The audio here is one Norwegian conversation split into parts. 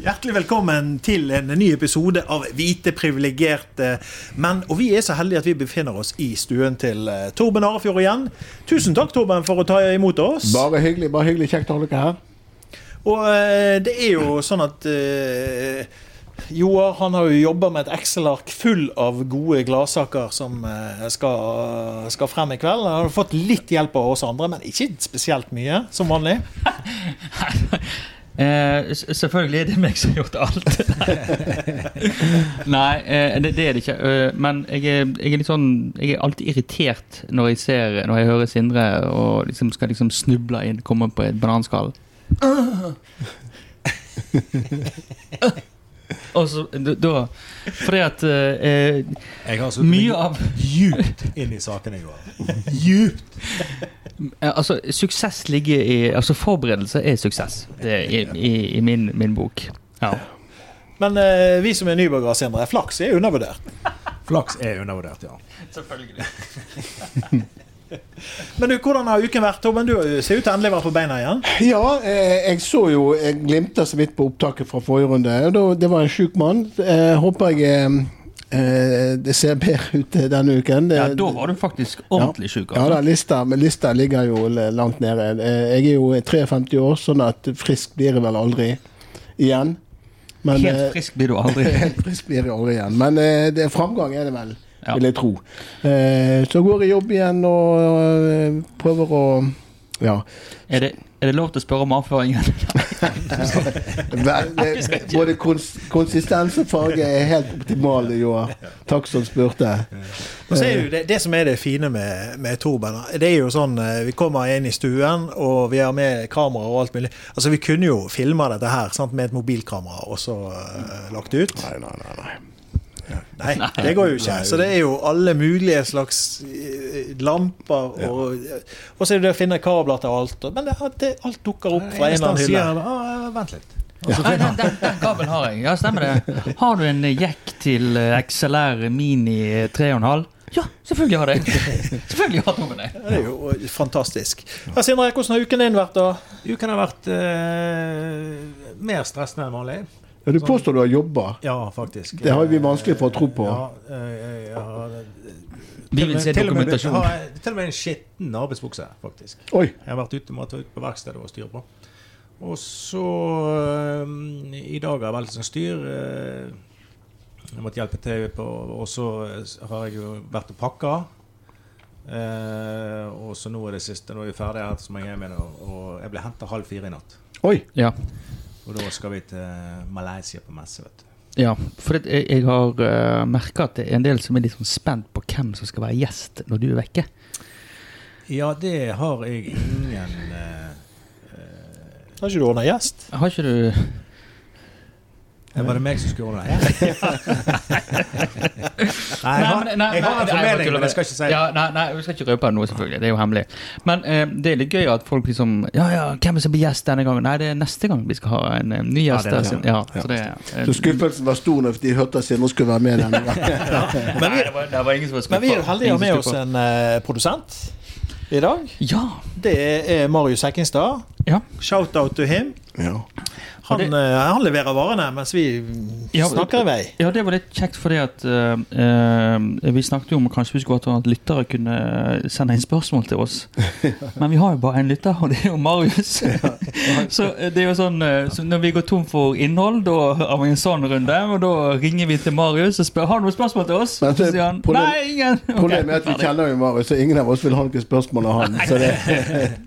Hjertelig velkommen til en ny episode av Hvite privilegerte menn. Og vi er så heldige at vi befinner oss i stuen til eh, Torben Arefjord igjen. Tusen takk, Torben, for å ta imot oss. Bare hyggelig, bare hyggelig kjekt å ha dere her. Og eh, det er jo sånn at eh, Joar han har jo jobba med et Excel-ark full av gode gladsaker som eh, skal, skal frem i kveld. Han har fått litt hjelp av oss andre, men ikke spesielt mye, som vanlig. Eh, s- selvfølgelig er det meg som har gjort alt. Nei, eh, det, det er det ikke. Eh, men jeg er, jeg er litt sånn Jeg er alltid irritert når jeg ser Når jeg hører Sindre og liksom skal liksom snuble inn, komme på et bananskall. Og så da- da Fordi at eh, Jeg har suttet mye av djupt inn i saken i går. Djupt. Eh, Altså, suksess ligger i Altså, forberedelse er suksess. Det er i, i, i min, min bok. Ja. Men eh, vi som er nybakere, Sindre, flaks er undervurdert. Flaks er undervurdert, ja. Selvfølgelig. Men du, hvordan har uken vært, Torben? Du eh, ser ut til endelig å være på beina igjen. Ja, eh, jeg så jo Jeg glimta så vidt på opptaket fra forrige runde. Da- Det var en sjuk mann. Eh, Håper jeg eh, eh, det ser bedre ut eh, denne uken. Det, Ja, Eh, da var du faktisk ordentlig sjuk. ja Altså. da, lista, men lista ligger jo l- langt nede. Eh, Jeg er jo 53 år, sånn at frisk blir jeg vel aldri igjen. Men, eh, Helt frisk blir du aldri. Helt frisk blir jeg aldri igjen. Men eh, det, framgang er det vel, Ja. vil jeg tro. Eh, så går jeg i jobb igjen og eh, prøver å Ja. Er det, er det lov til å spørre om avføringen? Vel, eh, Både kons konsistens og farge er helt optimale i år. Takk som spurte. Og så er Eh. det, jo det, det som er det fine med, med Torben, det er jo sånn eh, Vi kommer inn i stuen, og vi har med kamera og alt mulig. Altså, vi kunne jo filma dette her sant, med et mobilkamera og så eh, lagt det ut. Nei, nei, nei. nei. Nei, det går jo ikke. Så det er jo alle mulige slags eh, lamper, og, og så er det det å finne kabler til alt. og- Men det, det, alt dukker opp fra en eller annen hylle. Vent litt. Nei, den, den, den kabelen har jeg. Ja, stemmer det. Har du en jack til eh, XLR Mini 3,5? Ja, selvfølgelig har jeg. Selvfølgelig har Torben det. Ja, Det er jo fantastisk. Ja, Sindre, hvordan har uken din vært, da? Uken har vært eh, mer stressende enn vanlig. Ja, Du påstår du har jobba. Ja, faktisk. Det har vi vanskelig for å tro på. Ja, eh, jeg, har eh, Vi vil se til og med- dokumentasjon. har jeg- Til og med en skitten arbeidsbukse, faktisk. Oi! Jeg har vært ute med ut på verkstedet og styr på. Og så eh, I dag har jeg valgt som styr. eh, jeg måtte hjelpe til på Og så eh, har jeg jo vært og pakka. Eh, og så nå er det siste. Nå er vi ferdige her, så må jeg hjem igjen. Og, og jeg ble henta halv fire i natt. Oi! Ja. Og da skal vi til Malaysia på messe, vet du. Ja, for det, jeg, jeg har uh, merka at det er en del som er litt sånn spent på hvem som skal være gjest når du er vekke. Ja, det har jeg ingen eh, Har ikke du ordna gjest? Har ikke du Var det meg som skulle ordne det? Nei, jeg Nei, har, men- nei, nei, nei, jeg har en bare formening, tuller men jeg med skal det. ikke si det. ja, nei, nei, Vi skal ikke røpe noe, selvfølgelig. Det er jo hemmelig. Men eh, det er litt gøy at folk liksom Ja, ja, hvem som blir gjest denne gangen? Nei, det er neste gang vi skal ha en eh, ny gjest. det er der, det. sin- ja, så det, eh, Så skuffelsen var stor når de hørte at Sindre skulle være med denne gangen. nei, det var, det var ingen som var skuffa. Men vi er jo heldige å ha med Ingen oss som var en eh, produsent i dag. skuffa. Ja. Det er Marius Hekkingstad. ja. Shout-out to him. Ja. Han, Og det- eh, han leverer varene mens vi Ja, snakker i vei. Ja, det var litt kjekt fordi at eh, eh, Vi snakket jo om kanskje vi skulle hatt at lyttere kunne eh, sende inn spørsmål til oss. Men vi har jo bare én lytter, og det er jo Marius. så eh, det er jo sånn eh, så Når vi går tom for innhold, da har vi en sånn runde. Og da ringer vi til Marius og spør har du noen spørsmål til oss. Men Så det- sier han problem- nei, ingen. Ok, Problemet er at vi ferdig. kjenner jo Marius, så ingen av oss vil ha noen spørsmål av han. Så det, Det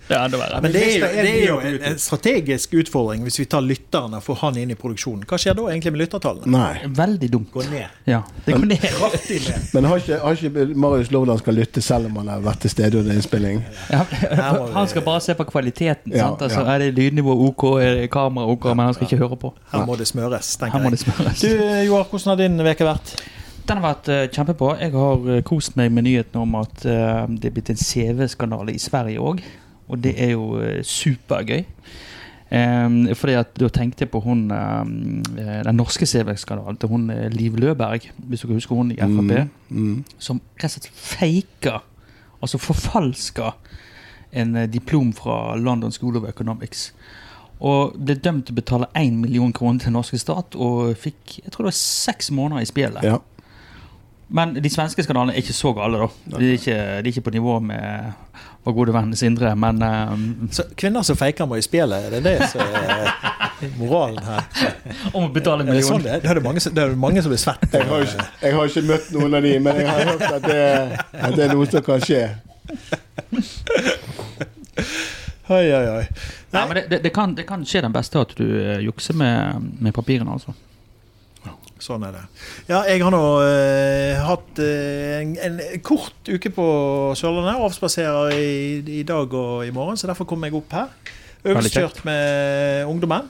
er enda verre. Men det er jo, hvis det er det er jo de en, oppe en strategisk utfordring hvis vi tar lytterne og får han inn i produksjonen. Hva skjer da egentlig med Mm. lyttertallene? nei. Veldig dumt. Gå ned. Ja, det går ned. Kraftig ned. Men har ikke, har ikke Marius lov til at han skal lytte selv om han har vært til stede under innspilling? Ja, må vi- han skal bare se på kvaliteten. Ja, sant? Altså, ja. Er det lydnivå OK, er det kamera OK, men han skal ikke høre på. Her må det smøres, Her må tenker det jeg. smøres. Du, Joar, hvordan har din uke vært? Den har vært eh, kjempebra. Jeg har eh, kost meg med nyheten om at eh, det er blitt en CV-skandale i Sverige òg. Og det er jo eh, supergøy. Um, fordi at da tenkte jeg på hun eh, den norske CV-skandalen til hun eh, Liv Løberg, hvis dere husker hun i Frp, som rett og slett faker, altså forfalsker, en eh, diplom fra London School of Economics. Og ble dømt til å betale 1 million kroner til den norske stat, og fikk jeg tror det var seks måneder i spillet. Ja. Men de svenske skandalene er ikke så gale, da. De er ikke, de er ikke på nivå med vår gode venn Sindre, men eh, Så kvinner som feiker må i spjelet, er det det som er eh, moralen her? om å betale en Er det sånn million det er? Da er det mange, som- da er det mange som blir svette. Jeg har, jo ikke, jeg har ikke møtt noen av de, men jeg har hørt at det, at det er noe som kan skje. Oi, oi, oi. Nei, men det, det, det, kan, det kan skje den beste at du eh, jukser med, med papirene, altså. Sånn er det. Ja, jeg har nå eh, hatt eh, en, en kort uke på Sørlandet. Avspaserer i, i dag og i morgen, så derfor kom jeg opp her. Øvelseskjørt med ungdommen.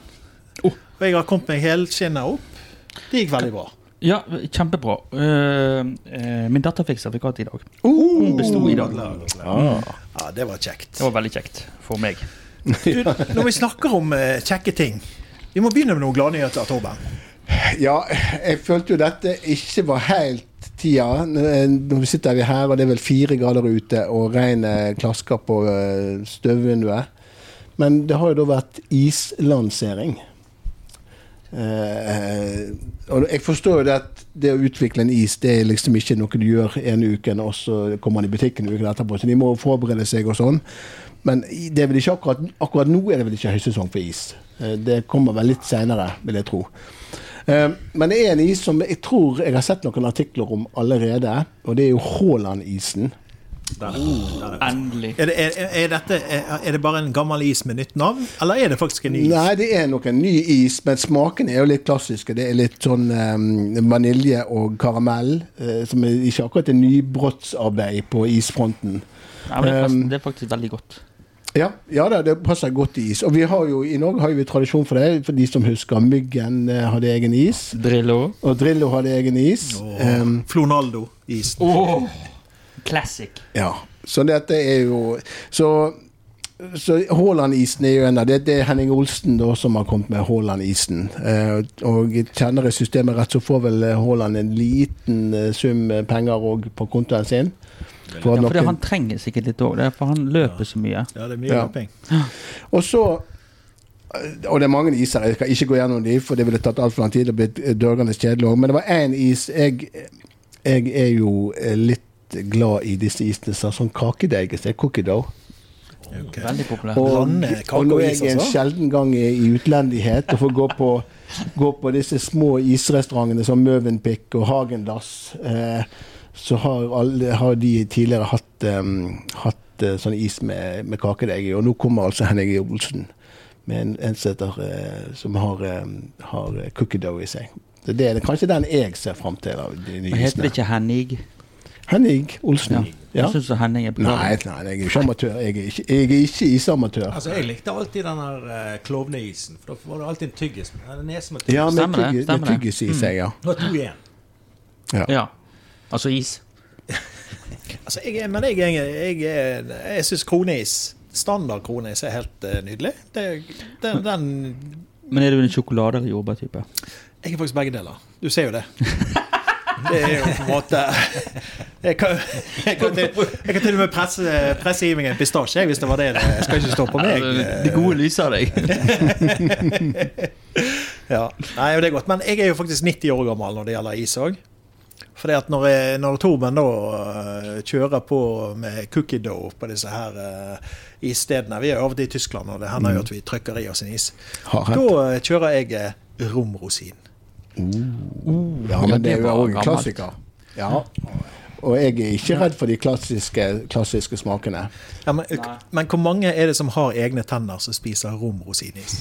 Oh. Og jeg har kommet meg helskinna opp. Det gikk veldig bra. Ja, kjempebra. Eh, eh, min datter fikk sertifikat i dag. Oh! Hun besto i dag. Ja, det var kjekt. Det var veldig kjekt for meg. Du, når vi snakker om eh, kjekke ting Vi må begynne med noen gladnyheter, Torben. Ja, jeg følte jo dette ikke var helt tida. Nå sitter vi her, og det er vel fire grader ute, og regnet klasker på eh, støvvinduet. Men det har jo da vært islansering. Eh, og jeg forstår jo det at det å utvikle en is det er liksom ikke noe du gjør ene uken, og så kommer den i butikken uken etterpå. Så de må jo forberede seg og sånn. Men i- det er vel ikke akkurat, akkurat nå er det vel ikke høysesong for is. Eh, det kommer vel litt seinere, vil jeg tro. Eh, Men det er en is som jeg tror jeg har sett noen artikler om allerede, og det er jo Haaland-isen. Der, der er. Endelig. Er det, er, er, dette, er, er det bare en gammel is med nytt navn, eller er det faktisk en ny is? Nei, det er nok en ny is, men smaken er jo litt klassiske. Det er litt sånn eh, vanilje og karamell, eh, som er ikke akkurat er nybrottsarbeid på isfronten. Nei, men det, er faktisk, det er faktisk veldig godt. Ja, ja da, det passer godt i is. Og vi har jo, i Norge har jo vi tradisjon for det. For de som husker Myggen eh, hadde egen is, Drillo. og Drillo hadde egen is. Åh, Um, Flonaldo-is. Oh, classic. Ja, så dette er jo Så, så Haaland-isen er jo en av det. Det er Henning Olsen da som har kommet med Haaland-isen. Eh, og kjenner jeg systemet rett, så får vel Haaland en liten eh, sum penger òg på kontoen sin. For Ja, for det, noen- han trenger sikkert litt òg, for han løper så mye. Ja, det er mye Ja. løping. Og så eh, Og det er mange iser, jeg skal ikke gå gjennom de, for det ville tatt altfor lang tid og blitt dørgende kjedelig òg, men det var én is jeg, jeg er jo eh, litt glad i disse isene. så- Sånn kakedeig. så det er Cookie dough. Okay. Veldig populær. Og, Blande kake og når og jeg is, er en altså? sjelden gang i, i utlendighet og får gå på, gå på disse små isrestaurantene som Møvenpick og Hagendass, eh, så har, alle, har de tidligere hatt, em, hatt eh, sånn is med, med kakedeig i. Og nå kommer altså Henning Olsen med en, en som heter, eh, som har, em, har eh, cookie dough i seg. Så Det er kanskje den jeg ser fram til av de nye Men heter isene. det ikke Henning? Henning Ja. Olsen. Ja. Jeg syns Henning er bra. Nei, nei, jeg er jo ikke amatør. Jeg er ikke, jeg er ikke isamatør. Altså, jeg likte alltid den her eh, klovneisen, for da var det alltid en tyggis. Nei, det er Nesen med tyggis. Ja, med, Stemmer det, tygge, med stemmer det. Mm. tyggis i seg, ja. Nå er det to igjen. Ja. Altså is. Altså, jeg, er- men jeg, jeg, jeg, jeg, jeg syns kroneis, standard kroneis, er helt eh, nydelig. Det, den, den Men er du en sjokolade- eller jordbærtype? Jeg er faktisk begge deler. Du ser jo det. Det er jo på en måte Jeg kan, jeg kan, til, jeg kan til og med presse, presse i meg en pistasje jeg, hvis det var det. Det skal ikke stå på meg. Altså, Det gode lyset av deg. Ja. Nei, det er godt. Men jeg er jo faktisk 90 år gammel når det gjelder is òg. Fordi at når, jeg, når Torben da øh, kjører på med cookie dough på disse her øh, isstedene Vi er jo av og til i Tyskland, og det hender jo at vi trykker i oss en is. Har Da hatt. øh, kjører jeg eh, romrosin. Mm. Ja, men det er jo var også en gammelt. klassiker. Ja. Og jeg er ikke redd for de klassiske, klassiske smakene. Ja, men, men hvor mange er det som har egne tenner som spiser romrosinis?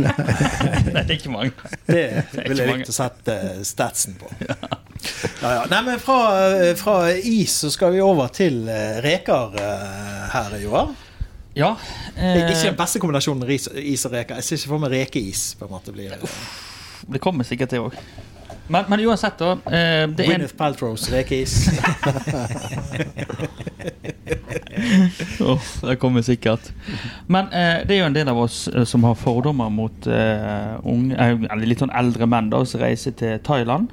Nei, det er ikke mange. Det ikke ville jeg mange. likt å sette eh, statsen på. Ja, ja. Nei, men fra, eh, fra is så skal vi over til eh, reker eh, her, Joar. Ja. Det er Eh, ikke den beste kombinasjonen ris, is og reker. Jeg ser ikke for meg rekeis. på en måte blir det kommer sikkert det òg. Men, men uansett, da. Eh, det er en Gwyneth Paltrows rekeis. Åh, det kommer sikkert. Men eh, det er jo en del av oss eh, som har fordommer mot eh, unge, eh, eller litt sånn eldre menn da, som reiser til Thailand,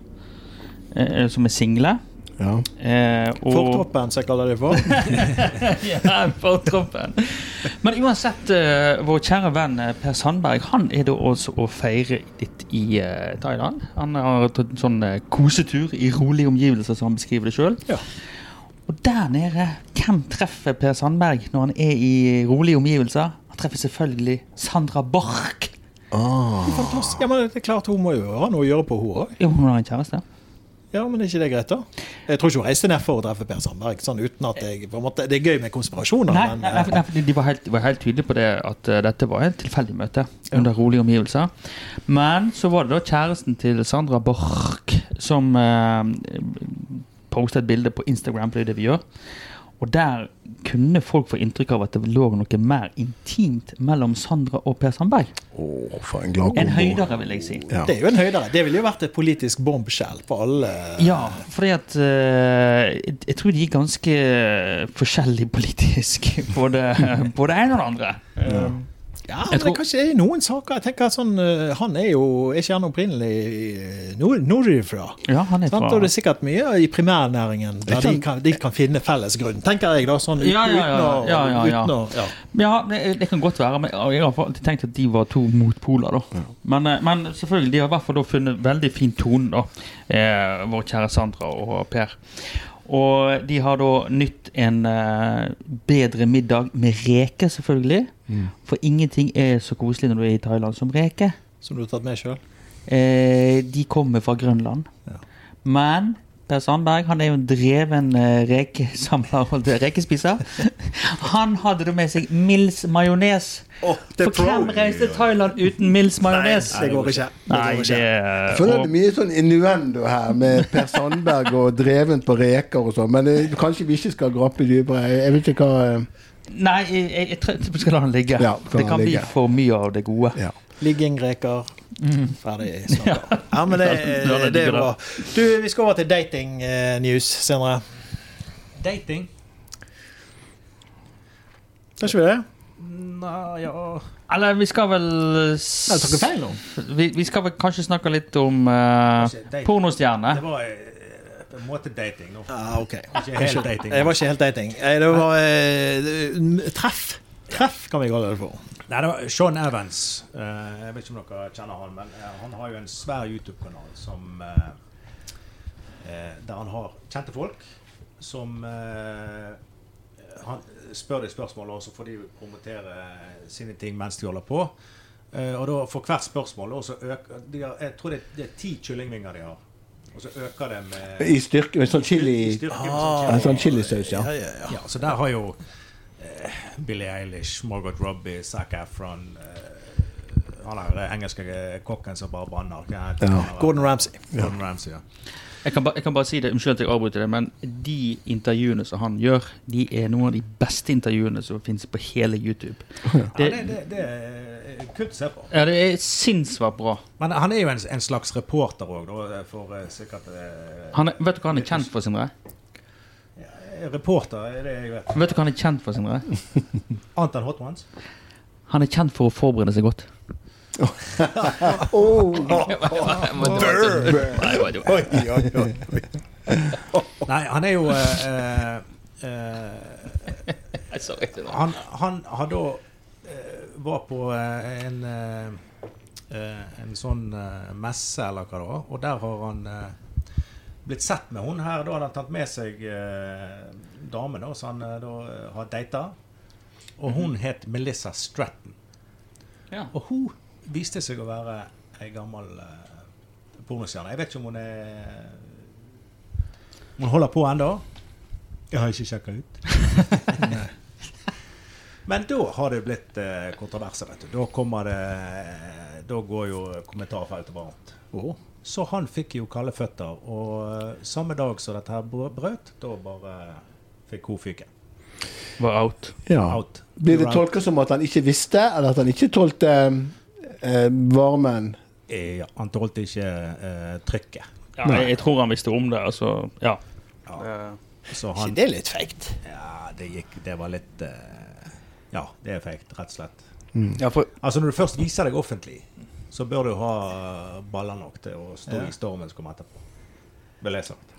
eh, eh, som er single. Ja. Eh, og- Ah. Fortroppen, som jeg kaller det for. ja, fortroppen. Men uansett, eh, vår kjære venn eh, Per Sandberg Han er da også å feire litt i eh, Thailand. Han har tatt en sånn eh, kosetur i rolige omgivelser, som han beskriver det sjøl. Ja. Og der nede, hvem treffer Per Sandberg når han er i rolige omgivelser? Han treffer selvfølgelig Sandra Borch. Fantastisk. Ja, men det er klart hun må jo ha noe å gjøre på, hun òg. Jo, hun har en kjæreste. Ja, men er ikke det greit, da? Jeg tror ikke hun reiste ned for å treffe Per Sandberg. sånn uten at jeg, på en måte, Det er gøy med konspirasjoner, Nei, men nei, nei, eh, nei, fordi de var helt, de var helt tydelige på det at eh, dette var et tilfeldig møte under rolige omgivelser. Men så var det da kjæresten til Sandra Borch som uh, postet et bilde på Instagram, for det er det vi gjør. Og der kunne folk få inntrykk av at det lå noe mer intimt mellom Sandra og Per Sandberg. Å, for en glad Oh. En kombo. høydere, vil jeg si. Ja. det er jo en høydere. Det ville jo vært et politisk bombshell på alle Ja, fordi at eh, jeg- Jeg tror de er ganske forskjellige politisk, både, både en og den andre. Ja, Jeg men tror- det er kanskje i noen saker. jeg tenker at sånn, eh, Han er jo er ikke han opprinnelig eh, nord- nordifra. Ja, han er Sant? fra Og det er sikkert mye i primærnæringen der de kan, de kan finne felles grunn, tenker jeg da. sånn ut- Ja, ja, ja. uten å- Ja, ja, ja. Uten å, ja. Ja, det, det kan godt være, men jeg har alltid tenkt at de var to motpoler, da. Men, eh, men selvfølgelig, de har i hvert fall da funnet veldig fin tone, da. Eh, vår kjære Sandra og Per. Og de har da nytt en eh, bedre middag med reker, selvfølgelig. For ingenting er så koselig når du er i Thailand som reker. Som du har tatt med sjøl? Eh, de kommer fra Grønland. Men Per Sandberg han er jo en dreven eh, rekesamler, holdt jeg- rekespiser. Han hadde da med seg Mills majones. For hvem reiste til Thailand uten Mills majones? Det går ikke. Det Nei, går det ikke. Jeg føler det er mye sånn innuendo her, med Per Sandberg og dreven på reker og sånn. Men eh, kanskje vi ikke skal grappe dypere. Jeg- Jeg vet ikke hva eh, Nei, jeg, jeg, jeg tror vi skal la den ligge. Ja, la det den kan bli ligge. for mye av det gode. ja. Ligging, reker, ferdig snakka. Ja, men det, Mm. Ja, det, det er ligger bra. Du, vi skal over til dating eh, news senere. Dating? Skal ikke vi det? Nei, ja Eller vi skal vel Jeg tok s- feil nå. vi, vi skal vel kanskje snakke litt om uh, Kanskje dating. Det pornostjerner. var eh, på en måte dating nå. Ah, ok. Ikke helt dating. Jeg var ikke helt dating. Eh, Det var eh, treff. Treff kan vi kalle det for. Nei, det var Sean Evans. Eh, jeg vet ikke om dere kjenner han, men eh, han har jo en svær YouTube-kanal som eh, eh, Der han har kjente folk som eh, Han spør de spørsmål, og så får de promotere sine ting mens de holder på. Eh, og da for hvert spørsmål og så øker de har, Jeg tror det er, det er ti kyllingvinger de har. Og så øker det med I styrke med sånn chili styrke med En sånn sånn chili. chilisaus, ja. Ja, så der har jo eh, Billie Eilish, Margot Robbie, Zac Efron eh, Han er den engelske eh, kokken som bare banner. Hva heter Ja. han? Gordon Ramsay. Gordon Ramsay, ja. Jeg kan, ba, jeg kan bare si det, Unnskyld at jeg avbryter det, men de intervjuene som han gjør, de er noen av de beste intervjuene som finnes på hele YouTube. ja Det, det, det, det er kult å se på. ja, det er sinnssvakt bra. Men han er jo en, en slags reporter òg, for eh, sikkert eh, Han er, vet du hva han er kjent for, Sindre? Reporter er det jeg vet. Vet du hva han er kjent for, Sindre? Annet enn Hot Ones. Han er kjent for å forberede seg godt. Oi, oi, oi. Nei, han er jo eh, eh, eh, Han, han har da eh, var på eh, en eh, eh, en sånn eh, messe, eller hva det var, og der har han eh, blitt sett med hun her. Da hadde han tatt med seg eh, damen da, som han eh, da eh, har data. Og hun het Melissa Stratton. Ja. Og hun viste seg å være ei gammel eh, pornostjerne. Jeg vet ikke om hun er om Hun holder på ennå. Jeg har ikke sjekka ut. Men da har det blitt eh, kontroverser, vet du. Da kommer det Da går jo kommentarfeltet varmt. Så han fikk jo kalde føtter, og eh, samme dag som dette her br- brøt, da bare fikk hun fyken. Var out. Ja. Out. Blir det You're out. tolket som at han ikke visste, eller at han ikke tålte eh, varmen? Eh, ja, han tålte ikke eh, trykket. Ja, jeg, jeg tror han visste om det, altså. Ja. Ja. Så Ikke han det er litt feigt? Ja, det gikk Det var litt eh, Ja, det er feigt, rett og slett. Mm. Ja, for Altså, når du først viser deg offentlig, så bør du ha eh, baller nok til å stå i stormen som kommer etterpå. Vil jeg sagt.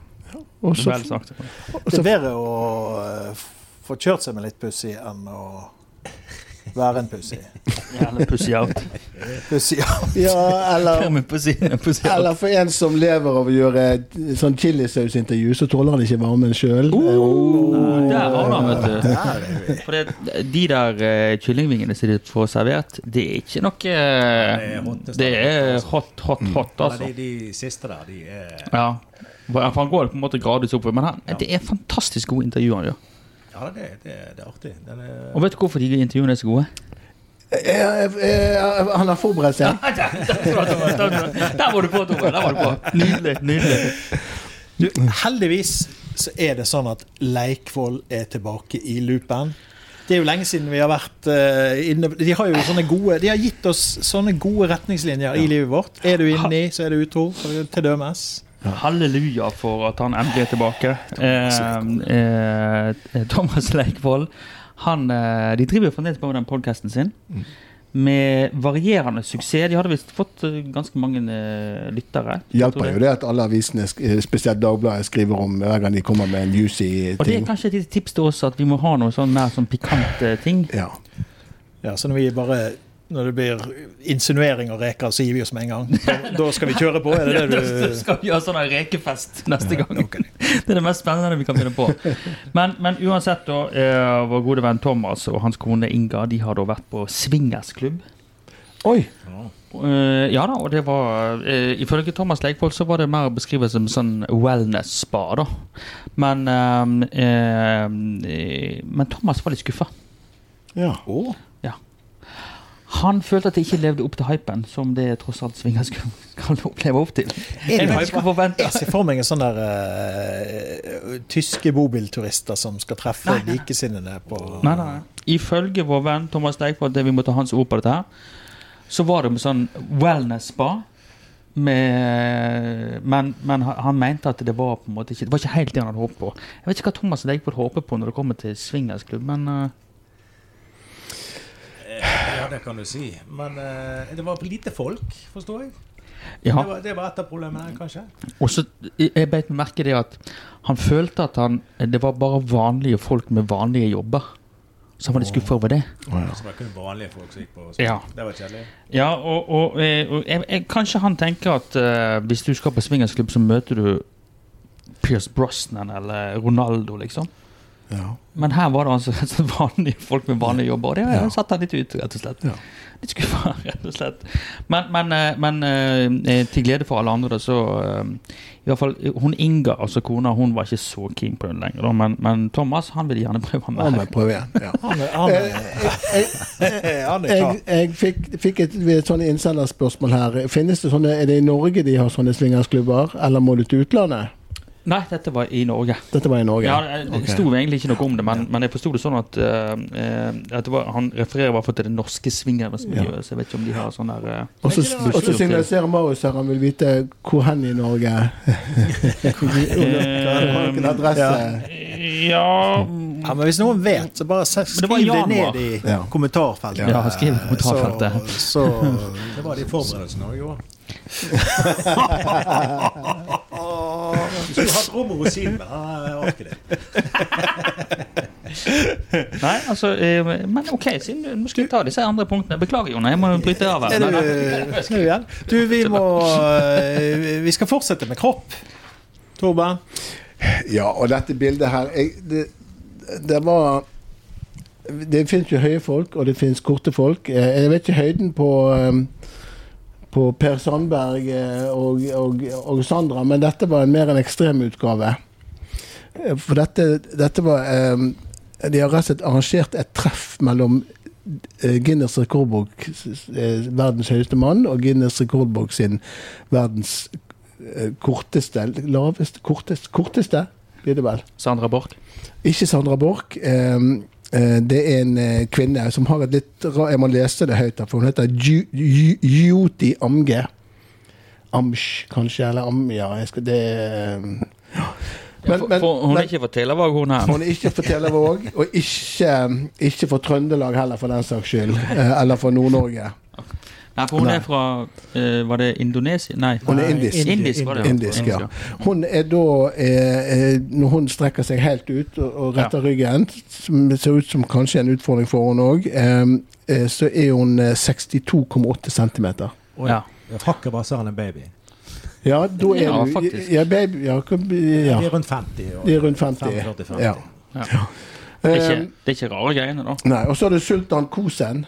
Og så, Vel sagt. Det er bedre å eh, f- få kjørt seg med litt pussig enn å være en pussig. Eller pussy out. Pussig, ja. ja, eller, Kommer pussy, pussy out. eller for en som lever av å gjøre et sånn chilisausintervju, så tåler han ikke varmen sjøl. Oh. Der har du han, vet du. Der er vi. For det, de der eh, kyllingvingene som de får servert, det er ikke noe eh, Det er hot, Det er hot, hot, hot, altså. Nei, de, de siste der, de er Ja. For han går det på en måte gradvis oppover. Men han, det er fantastisk gode intervjuer han gjør. Ja, det, det, det er artig. Den er Og vet du hvorfor de intervjuene er så gode? Eh, eh, Han har forberedt seg. Der var du på, Tore. Der var du på. Nydelig. nydelig. Du, heldigvis så er det sånn at Leikvoll er tilbake i loopen. Det er jo lenge siden vi har vært eh, inne De har jo sånne gode De har gitt oss sånne gode retningslinjer i livet vårt. Er du inni, så er du utro. så er du Til dømes. Halleluja for at han endelig er tilbake. Eh, eh, Thomas Leikvoll. Han, eh, de driver jo fremdeles på med den podkasten sin. Mm. Med varierende suksess. De hadde visst fått eh, ganske mange eh, lyttere. Hjelper jo det at alle avisene, sk- eh, spesielt Dagbladet, skriver om hver gang de kommer med en juicy Og det ting. er kanskje et lite tips til oss at vi må ha noe sånn mer sånn pikante ting. Ja. Ja, så når vi bare når det blir insinuering og reker, så gir vi oss med en gang. Da, da skal vi kjøre på, er det det Da du skal vi ha sånn her rekefest neste gang. Det er det mest spennende vi kan finne på. Men, men uansett, da. eh, Vår gode venn Thomas og hans kone Inga De har da vært på swingersklubb. Oi! Eh, ja da, og det var eh, Ifølge Thomas Leikvoll så var det mer beskrevet som sånn wellness-spa, da. Men, eh, eh, men Thomas var litt skuffa. Ja. Han følte at det ikke levde opp til hypen, som det tross alt svinger skal, skal leve opp til. Er Jeg det vet ikke hva forventa. Jeg ser for meg en sånn der eh, tyske bobilturister som skal treffe likesinnede på Nei, nei. Ifølge vår venn Thomas Leikvoll, det vi må ta hans ord på dette her, så var det med sånn wellness-spa. Med, men, men han han mente at det var på en måte ikke Det var ikke helt det han hadde håpet på. Jeg vet ikke hva Thomas Leikvoll håper på når det kommer til swingersklubb, men eh, eh, Ja, det kan du si. Men eh, det var lite folk, forstår jeg. ja. Det, var, det var et av problemene, kanskje. Og så jeg beit meg merke i det at han følte at han Det var bare vanlige folk med vanlige jobber. Så han var litt skuffa over det. Så det var kun vanlige folk som gikk på Ja. Det var kjedelig. Ja, og, og, eh, og jeg, jeg, kanskje han tenker at eh, hvis du skal på swingersklubb, så møter du Pierce Brosnan eller Ronaldo, liksom. ja. Men her var det altså rett og slett vanlige folk med vanlige jobber, og det Ja. ja. satte han litt ut, rett og slett. Ja. Litt skuffa, rett og slett. Men, men, eh, men eh, eh, til glede for alle andre, da, så eh, I hvert fall eh, hun Inga, altså kona, hun var ikke så keen på den lenger, da, men, men Thomas han ville gjerne prøve Ja, mer. men prøv igjen. Ja. Eh, Han er, han er, han er klar. Jeg, jeg fikk, fikk et, et sånn innsenderspørsmål her. Finnes det sånne, Er det i Norge de har sånne swingersklubber, eller må du til utlandet? Nei, dette var i Norge. Dette var i Norge. Ja, det det Ok. sto egentlig ikke noe om det, men, men jeg forsto det sånn at, eh, eh, at det var, han refererer i hvert fall til det norske swingersmiljøet, så jeg vet ikke om de har sånn der eh, Og så det var- og så signaliserer Marius her, han vil vite hvor hen i Norge. Hvilken adresse. Eh, Ja Ja, men hvis noen vet, så bare se- det var i skriv det januar. ned i Ja. kommentarfeltet. Ja, skriv i kommentarfeltet. Så, så Det var de forberedelsene òg, jo. Du skulle hatt rom og rosiner. Jeg orker det. Nei, altså eh, Men OK, siden du nå skal vi ta disse andre punktene. Beklager, Jon. Jeg må bryte av her. er du, Men, snu igjen. Du, vi må eh, Vi skal fortsette med kropp. Torben. Ja, og dette bildet her jeg, det, det var Det fins jo høye folk, og det fins korte folk. Eh, Jeg vet ikke høyden på eh, på Per Sandberg eh, og, og, og Sandra, men dette var en mer en ekstremutgave. Eh, For dette, dette var eh, De har rett og slett arrangert et treff mellom eh, Guinness rekordbok, eh, verdens høyeste mann, og Guinness rekordbok sin verdens eh, korteste laveste, korteste, korteste blir det vel. Sandra Borch. Ikke Sandra Borch. Eh, eh, det er en eh, kvinne som har et litt ra- Jeg må lese det høyt, her, for hun heter Ju- Ju- Juti Amge. Amsh, kanskje, eller Am... Ja, jeg skal, det eh, ja. men, For- men, for Hun men- er ikke fra Telavåg, hun her. hun er ikke fra Telavåg, og ikke, ikke fra Trøndelag heller, for den saks skyld. eh, Eller fra Nord-Norge. Nei, for hun Nei. er fra eh, Var det Indonesia? Nei. Hun er indisk. Indisk, var det. ja. Indisk, ja. Hun er da eh, eh, Når hun strekker seg helt ut og, og retter ryggen, som ser ut som kanskje en utfordring for henne òg, eh, eh, så er hun eh, 62,8 cm. Og Ja. Hakket hvassere enn en baby. Ja, da er Ja, du faktisk. Ja, baby, ja, hva- ja. De er rundt 50. og- De er rundt 50. 45, 50. Ja. Ja. Det, er Eh, ikke, det er ikke rare greiene, da. nei, og så er det Sultan Kosen.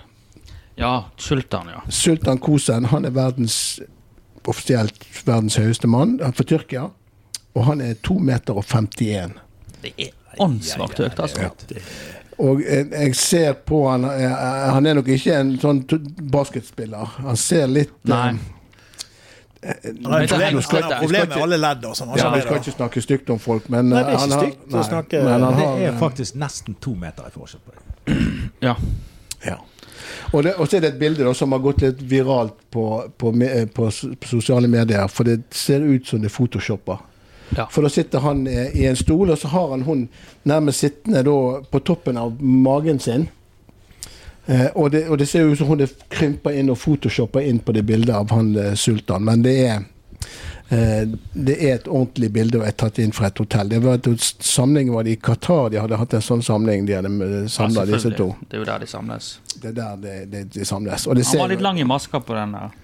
Ja, Sultan, ja. Sultan Kosen han er verdens offisielt verdens høyeste mann han er fra Tyrkia. Og han er 2,51 meter. Og 51. Det er åndssvakt høyt, altså. Og eh, jeg ser på han eh, Han er nok ikke en sånn t- basketspiller. Han ser litt eh, Nei. Han har Men det er problemer helt han slett, har jeg problemer skal med alle ledd og sånn. Ja, altså, Vi det skal da. ikke snakke stygt om folk, men Nei, det er eh, han ikke har- stygt å nei, snakke- Men han har, Det er eh, faktisk nesten to meter i forskjell på det. Ja. Ja. Og, det, og så er det et bilde da, som har gått litt viralt på, på, me- eh, på, s- på sosiale medier, for det ser ut som det er photoshoppa. Ja. For da sitter han eh, i en stol, og så har han hun nærmest sittende da, på toppen av magen sin. Eh, og, det, og det ser ut som hun er krympa inn og photoshoppa inn på det bildet av han eh, sultan, men det er eh, det er et ordentlig bilde og er tatt inn fra et hotell. Det var et samling var det i Qatar de hadde hatt en sånn samling. De hadde samla disse to. selvfølgelig. Det er jo der de samles. Det er der det, det, det samles. Og det Han ser, var litt lang i maska på den der.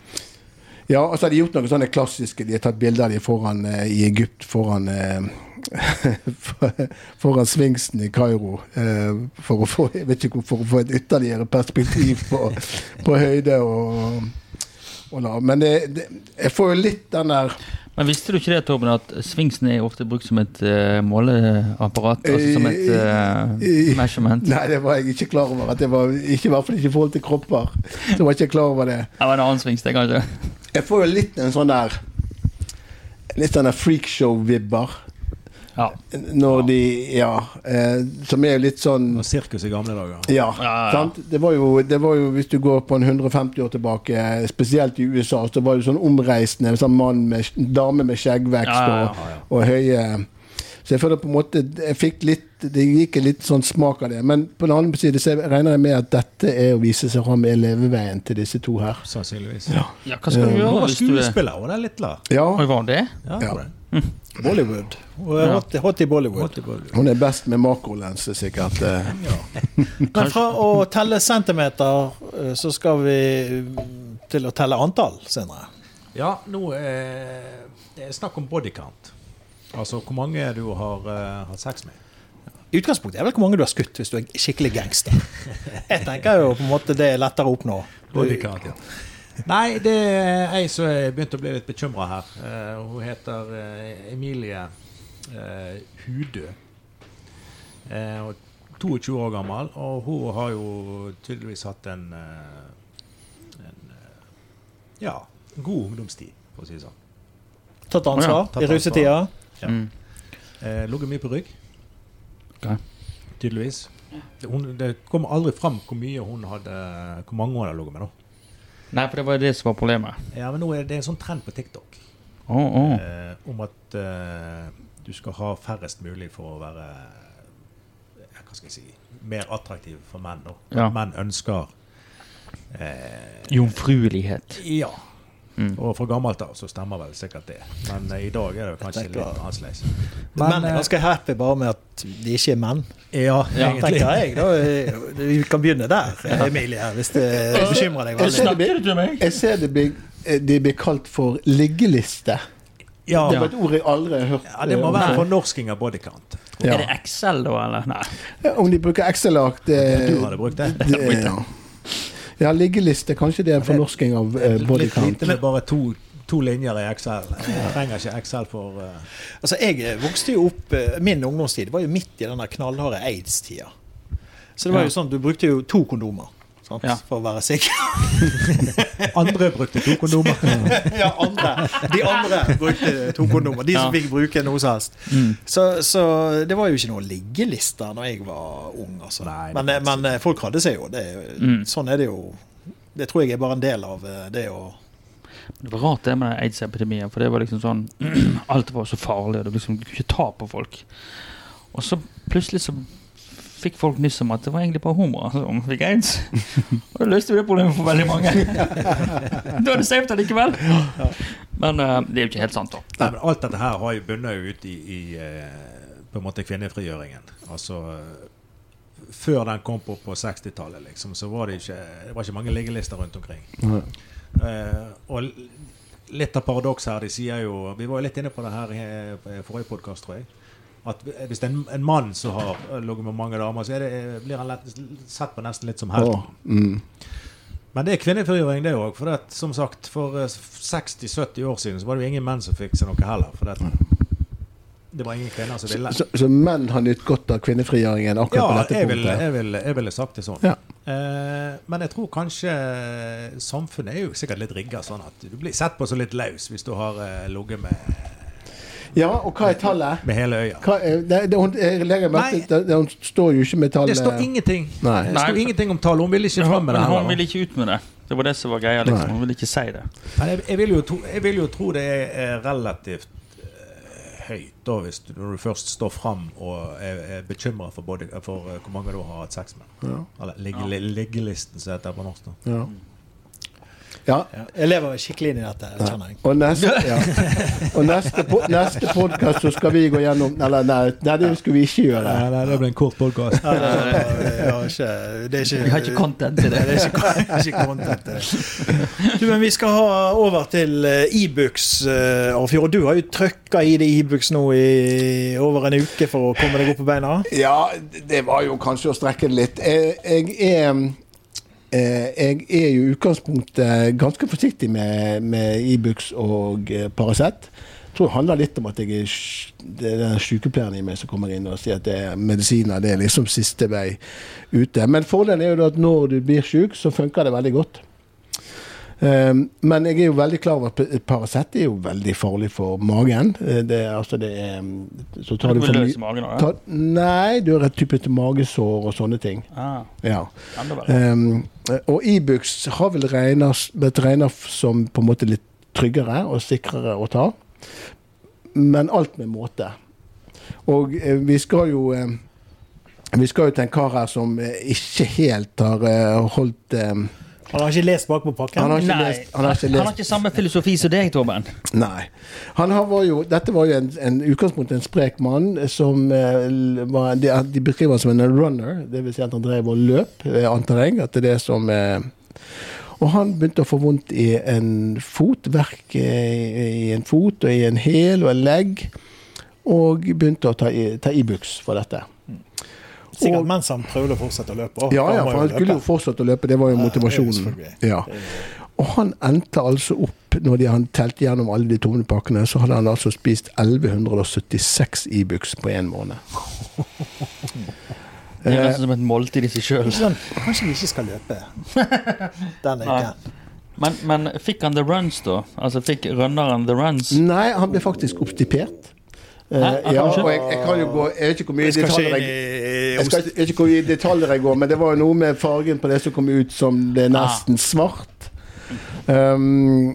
ja, og så har de gjort noen sånne klassiske De har tatt bilder av de foran eh, i Egypt, foran eh, Foran Sfinksen i Kairo. Eh, for, å få, jeg vet ikke, hvor- for å få et ytterligere perspektiv på, på høyde og, og lav. Men det, det, jeg får jo litt den der Men visste du ikke det, Torben, at sfinksen er ofte brukt som et eh, måleapparat? Altså som et eh, Eh, measurement? Nei, det var jeg ikke klar over. At det var, ikke, I hvert fall ikke i forhold til kropper. Så var jeg ikke klar over det. Det var en annen sfinks, det, kanskje? Jeg får jo litt en sånn der Litt sånn der freakshow-vibber. Ja. Når de Ja. Eh, som er jo litt sånn Og sirkus i gamle dager. ja, ja, ja. sant? Det var, jo, det var jo, hvis du går på en 150 år tilbake, spesielt i USA, så var det sånn omreisende en sånn mann med, dame med skjeggvekst Ja, ja, ja, Og, og høye Så jeg føler på en måte jeg fikk litt, Det gikk en litt sånn smak av det. Men på den andre siden så regner jeg med at dette er å vise seg fram er leveveien til disse to her. Sannsynligvis. Ja. ja, Eh, hva skal du Hun gjøre var hvis du er skuespiller, og det er litt klar. Ja, Oi, var han det? Ja, Ja. det var det. Bollywood. Og hot, hot i Bollywood. Måtte gå- Hun er best med makrolense, sikkert. eh. Men fra å telle centimeter, eh, så skal vi eh, til å telle antall senere. Ja, nå eh, Det er snakk om bodycount. Altså hvor mange du har eh, hatt sex med. I utgangspunktet er det vel hvor mange du har skutt hvis du er skikkelig gangster. Jeg tenker jo på en måte det er lettere å oppnå. Bodycount, ja. Nei, det er ei som jeg begynte å bli litt bekymra her. Eh, hun heter eh, Emilie eh, Hudø. Eh, og 22 år gammel, og hun har jo tydeligvis hatt en, eh, en eh, ja, god ungdomstid, for å si det sånn. Tatt ansvar Å ja, tatt i rusetida. Ja. Mm. Eh, Ligget mye på rygg, Ok. tydeligvis. Det, hun, det kom aldri fram hvor mye hun hadde, hvor mange hun hadde ligget med. da. Nei, for det var jo det som var problemet. Ja, men nå er det en sånn trend på TikTok. Å, å. eh, om at eh, du skal ha færrest mulig for å være ja, Hva skal jeg si mer attraktiv for menn. Da. At Ja. Menn ønsker eh, Jomfruelighet. Ja. Mm. Og fra gammelt av så stemmer vel sikkert det. Men eh, i dag er det jo kanskje tenker- litt annerledes. Menn eh, er ganske happy bare med at de ikke er menn, ja, Ja, egentlig. tenker jeg. da. Eh, Vi kan begynne der, Emilie, hvis det bekymrer deg Jeg veldig. ser det blir- du til meg? Jeg ser det blir, eh, det blir kalt for liggeliste. Ja, Det var ja. et ord jeg aldri har hørt. det må eh, være Nei. fornorsking av bodycount. Ja. Er det Excel, da, eller? Nei. Ja, Om de bruker Excel-ark, det, Du hadde brukt det. det ja. ja, liggeliste. Kanskje det er en fornorsking av eh, Litt bodycount. lite med bare to, to linjer i Excel. Jeg trenger ikke Excel for eh, Altså, jeg vokste jo opp eh, Min ungdomstid var jo midt i den der knallharde aids-tida. Så det var Ja. jo sånn, du brukte jo to kondomer sant? Ja. for å være sikker. Andre brukte to kondomer. ja, andre. De andre brukte to kondomer. De som Ja. fikk bruke noe som helst. Mm. Så, så det var jo ikke noen liggelister når jeg var ung, altså. Nei, det men, kan jeg men eh, folk hadde seg jo. Det, er jo- Mm. Sånn er det jo. Det tror jeg er bare en del av eh, det å Det var rart det med den aids-epidemien, for det var liksom sånn Alt var så farlig, og du liksom kunne ikke ta på folk. Og så plutselig så fikk folk nyss om at det var egentlig bare homoer som fikk aids. Og da løste vi det problemet for veldig mange. da er det safe allikevel. Men eh, det er jo ikke helt sant, da. Nei, men alt dette her har jo bunnet ut i, i eh, på en måte kvinnefrigjøringen. Altså eh, Før den kom på, på 60-tallet, liksom, så var det ikke, det var ikke mange liggelister rundt omkring. Eh, og l- litt av paradokset her, de sier jo Vi var jo litt inne på det her i eh, forrige podkast, tror jeg. At hvis det er en, en mann som har eh, ligget med mange damer, så er det, eh, blir han lett, sett på nesten litt som helt. Åh, mm. Men det er kvinnefrigjøring, det òg. For det, at, som sagt, for eh, 60-70 år siden så var det jo ingen menn som fikk seg noe heller. For det, det var ingen kvinner som ville. så, så menn har nytt godt av kvinnefrigjøringen akkurat Ja, på dette jeg ville, punktet? jeg, ville, jeg ville sagt det sånn. Ja. Eh, men jeg tror kanskje samfunnet er jo sikkert litt rigga sånn at du blir sett på som litt løs hvis du har eh, ligget med, Ja, og hva er tallet? med hele øya. Hva er, det, det, hun, jeg legger merke til at hun står jo ikke med tallet Det står ingenting Nei. Det står Nei. ingenting om tall. Hun ville ikke sånn fram med det. Men heller, hun da. ville ikke ut med det. Det var det som var greia. liksom. Nei. Hun ville ikke si det. Men jeg, jeg, vil jo tro, jeg vil jo tro det er er relativt eh, høyt da, hvis du, når du først står fram og er, er bekymra for, både, for eh, hvor mange du har hatt sex med. Eller ligge, li- liggelisten, som heter det på norsk. da. Ja. ja. Ja. Jeg lever skikkelig inn i dette, kjenner jeg. Og neste, ja. Og neste, po- neste podkast så skal vi gå gjennom Eller nei, nei det skulle vi ikke gjøre. det blir en kort podkast. Ja, det, er ikke, det er ikke Vi har ikke content til Nei, det. det er ikke, ikke content. til det. Du, men vi skal ha over til eh, Ibux, eh, Arnfjord. Du har jo trøkka i det Ibux nå i over en uke for å komme deg opp på beina. Ja, det var jo kanskje å strekke det litt. Jeg, jeg er eh, jeg er jo i utgangspunktet ganske forsiktig med, med Ibux og eh, Paracet. Jeg tror det handler litt om at jeg er, sj- det er den sykepleieren i meg som kommer inn og sier at det er medisiner det er liksom siste vei ute. Men fordelen er jo da at når du blir syk, så funker det veldig godt. Ehm, men jeg er jo veldig klar over at p- Paracet er jo veldig farlig for magen. Eh, Det, er- altså det er, så tar Du du for mye løs i magen av det. Ta, nei, du har et type til magesår og sånne ting. Ah, Ja. enda verre. Ehm, og Ibux har vel regnet- blitt regna som på en måte litt tryggere og sikrere å ta. Men alt med måte. Og eh, vi skal jo eh, Vi skal jo til en kar her som eh, ikke helt har eh, holdt eh, Han har ikke lest bakpå Han pakken. har ikke Nei, lest Han har ikke lest samme filosofi som deg, Torben. Nei. Han har- var jo, dette var jo en, en utgangspunkt en sprek mann eh, som eh, l- var, de, de beskriver han som en runner, dvs. Si at han drev og løp, eh, antar jeg. At det er det som eh, Og han begynte å få vondt i en fot, verk eh, i en fot og i en hæl og en legg, og begynte å ta i- ta Ibux for dette. Sikkert mens han prøvde å fortsette å løpe. Å, Ja, ja, må for jo han løpe. skulle jo fortsette å løpe, det var jo Ja, motivasjonen. selvfølgelig. Ja. Og han endte altså opp, når de han telte gjennom alle de tomme pakkene, så hadde han altså spist 1176 Ibux på én måned. Det Eh, er nesten som et måltid i seg sjøl. Ikke sant? sånn, Kanskje vi ikke skal løpe denne Nei. uken. Men, men fikk han the runs, da? Altså fikk runneren the runs? Nei, han ble faktisk obstipert. Eh, Hæ? Han ja, kanskje? og jeg, jeg kan jo gå Jeg vet ikke hvor mye Vi skal ikke detaljer inn jeg i jeg skal ikke- jeg vet ikke hvor mye detaljer jeg går, men det var jo noe med fargen på det som kom ut som det er nesten svart. Um,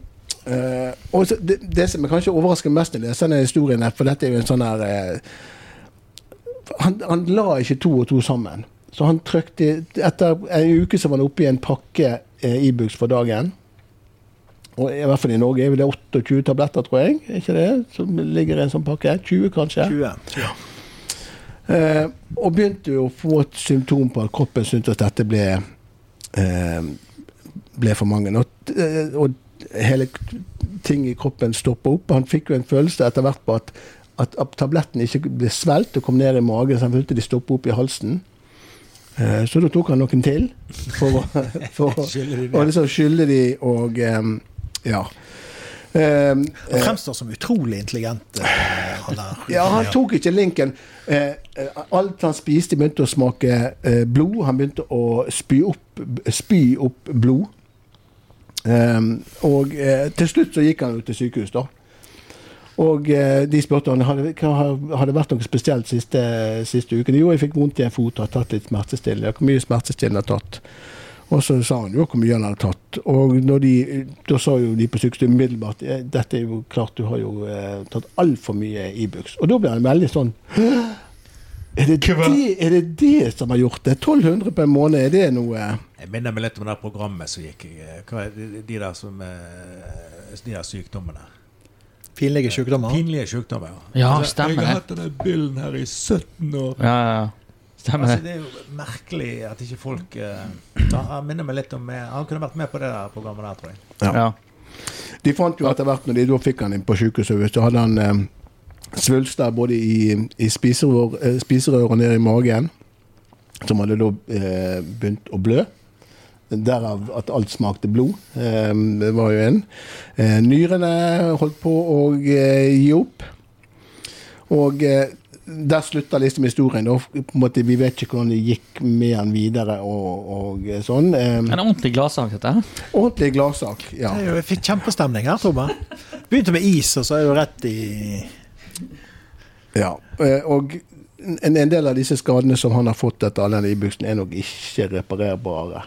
eh, og så det, det som kanskje overrasker mest når jeg leser denne historien, her, for dette er jo en sånn her eh, han, han la ikke to og to sammen. Så han trykte Etter en uke så var han oppe i en pakke eh, Ibux for dagen. Og I hvert fall i Norge er vel det 28 tabletter, tror jeg. Er ikke det? Som ligger i en sånn pakke. 20, kanskje. 20. Eh, og begynte jo å få et symptom på at kroppen syntes at dette ble eh, ble for mange. Og, eh, og hele k- ting i kroppen stoppa opp. Han fikk jo en følelse etter hvert på at, at, at tabletten ikke ble svelget og kom ned i magen, så han følte de stoppa opp i halsen. Eh, så da tok han noen til for å, for å Skylle de ned. og liksom skylle de og eh, ja. Eh, Han fremstår som utrolig intelligent, eh, han der. ja, han tok ikke linken. Eh, eh, alt han spiste, begynte å smake eh, blod. Han begynte å spy opp, spy opp blod. Ehm, og eh, til slutt så gikk han jo til sykehus, da. Og eh, de spurte han hadde, hva, har- har det vært noe spesielt siste, siste uken. Jo, jeg fikk vondt i en fot og har tatt litt smertestillende. Hvor mye smertestillende har tatt? Og så sa han jo hvor mye han hadde tatt. Og når de, da sa jo de på sykehuset umiddelbart «Eh, dette er jo klart, du har jo eh, tatt altfor mye Ibux. Og da ble han veldig sånn Er det, det, er det det som har gjort det? 1200 på en måned, er det noe Jeg minner meg litt om det der programmet som gikk. eh, Hva er de, de der som eh, De der sykdommene. Pinlige sykdommer. Pinlige sykdommer. Ja, Altså, stemmer Jeg det. har hatt denne billen her i 17 år. Ja, ja, ja. Stemmer Altså, det. det er jo merkelig at ikke folk eh, ja, Han minner meg litt om eh, Han kunne vært med på det der programmet der, tror jeg. Ja. De fant jo etter hvert, når de da fikk han inn på sykehuset, så hadde han eh, svulster både i, i spiserør, eh, spiserør og nede i magen, som hadde da eh, begynt å blø. Derav at alt smakte blod. Eh, det var jo en. Eh, nyrene holdt på å eh, gi opp. Og eh, der slutta liksom historien. Da. På en måte, vi vet ikke hvordan det gikk med han videre og, og eh, sånn. Eh, En ordentlig gladsak, dette her. ordentlig gladsak. Ja. Det er jo- Jeg fikk kjempestemning her, Tobbe. Begynte med is, og så er jo rett i Ja, eh, og en, en del av disse skadene som han har fått etter all denne ibuksen, er nok ikke reparerbare.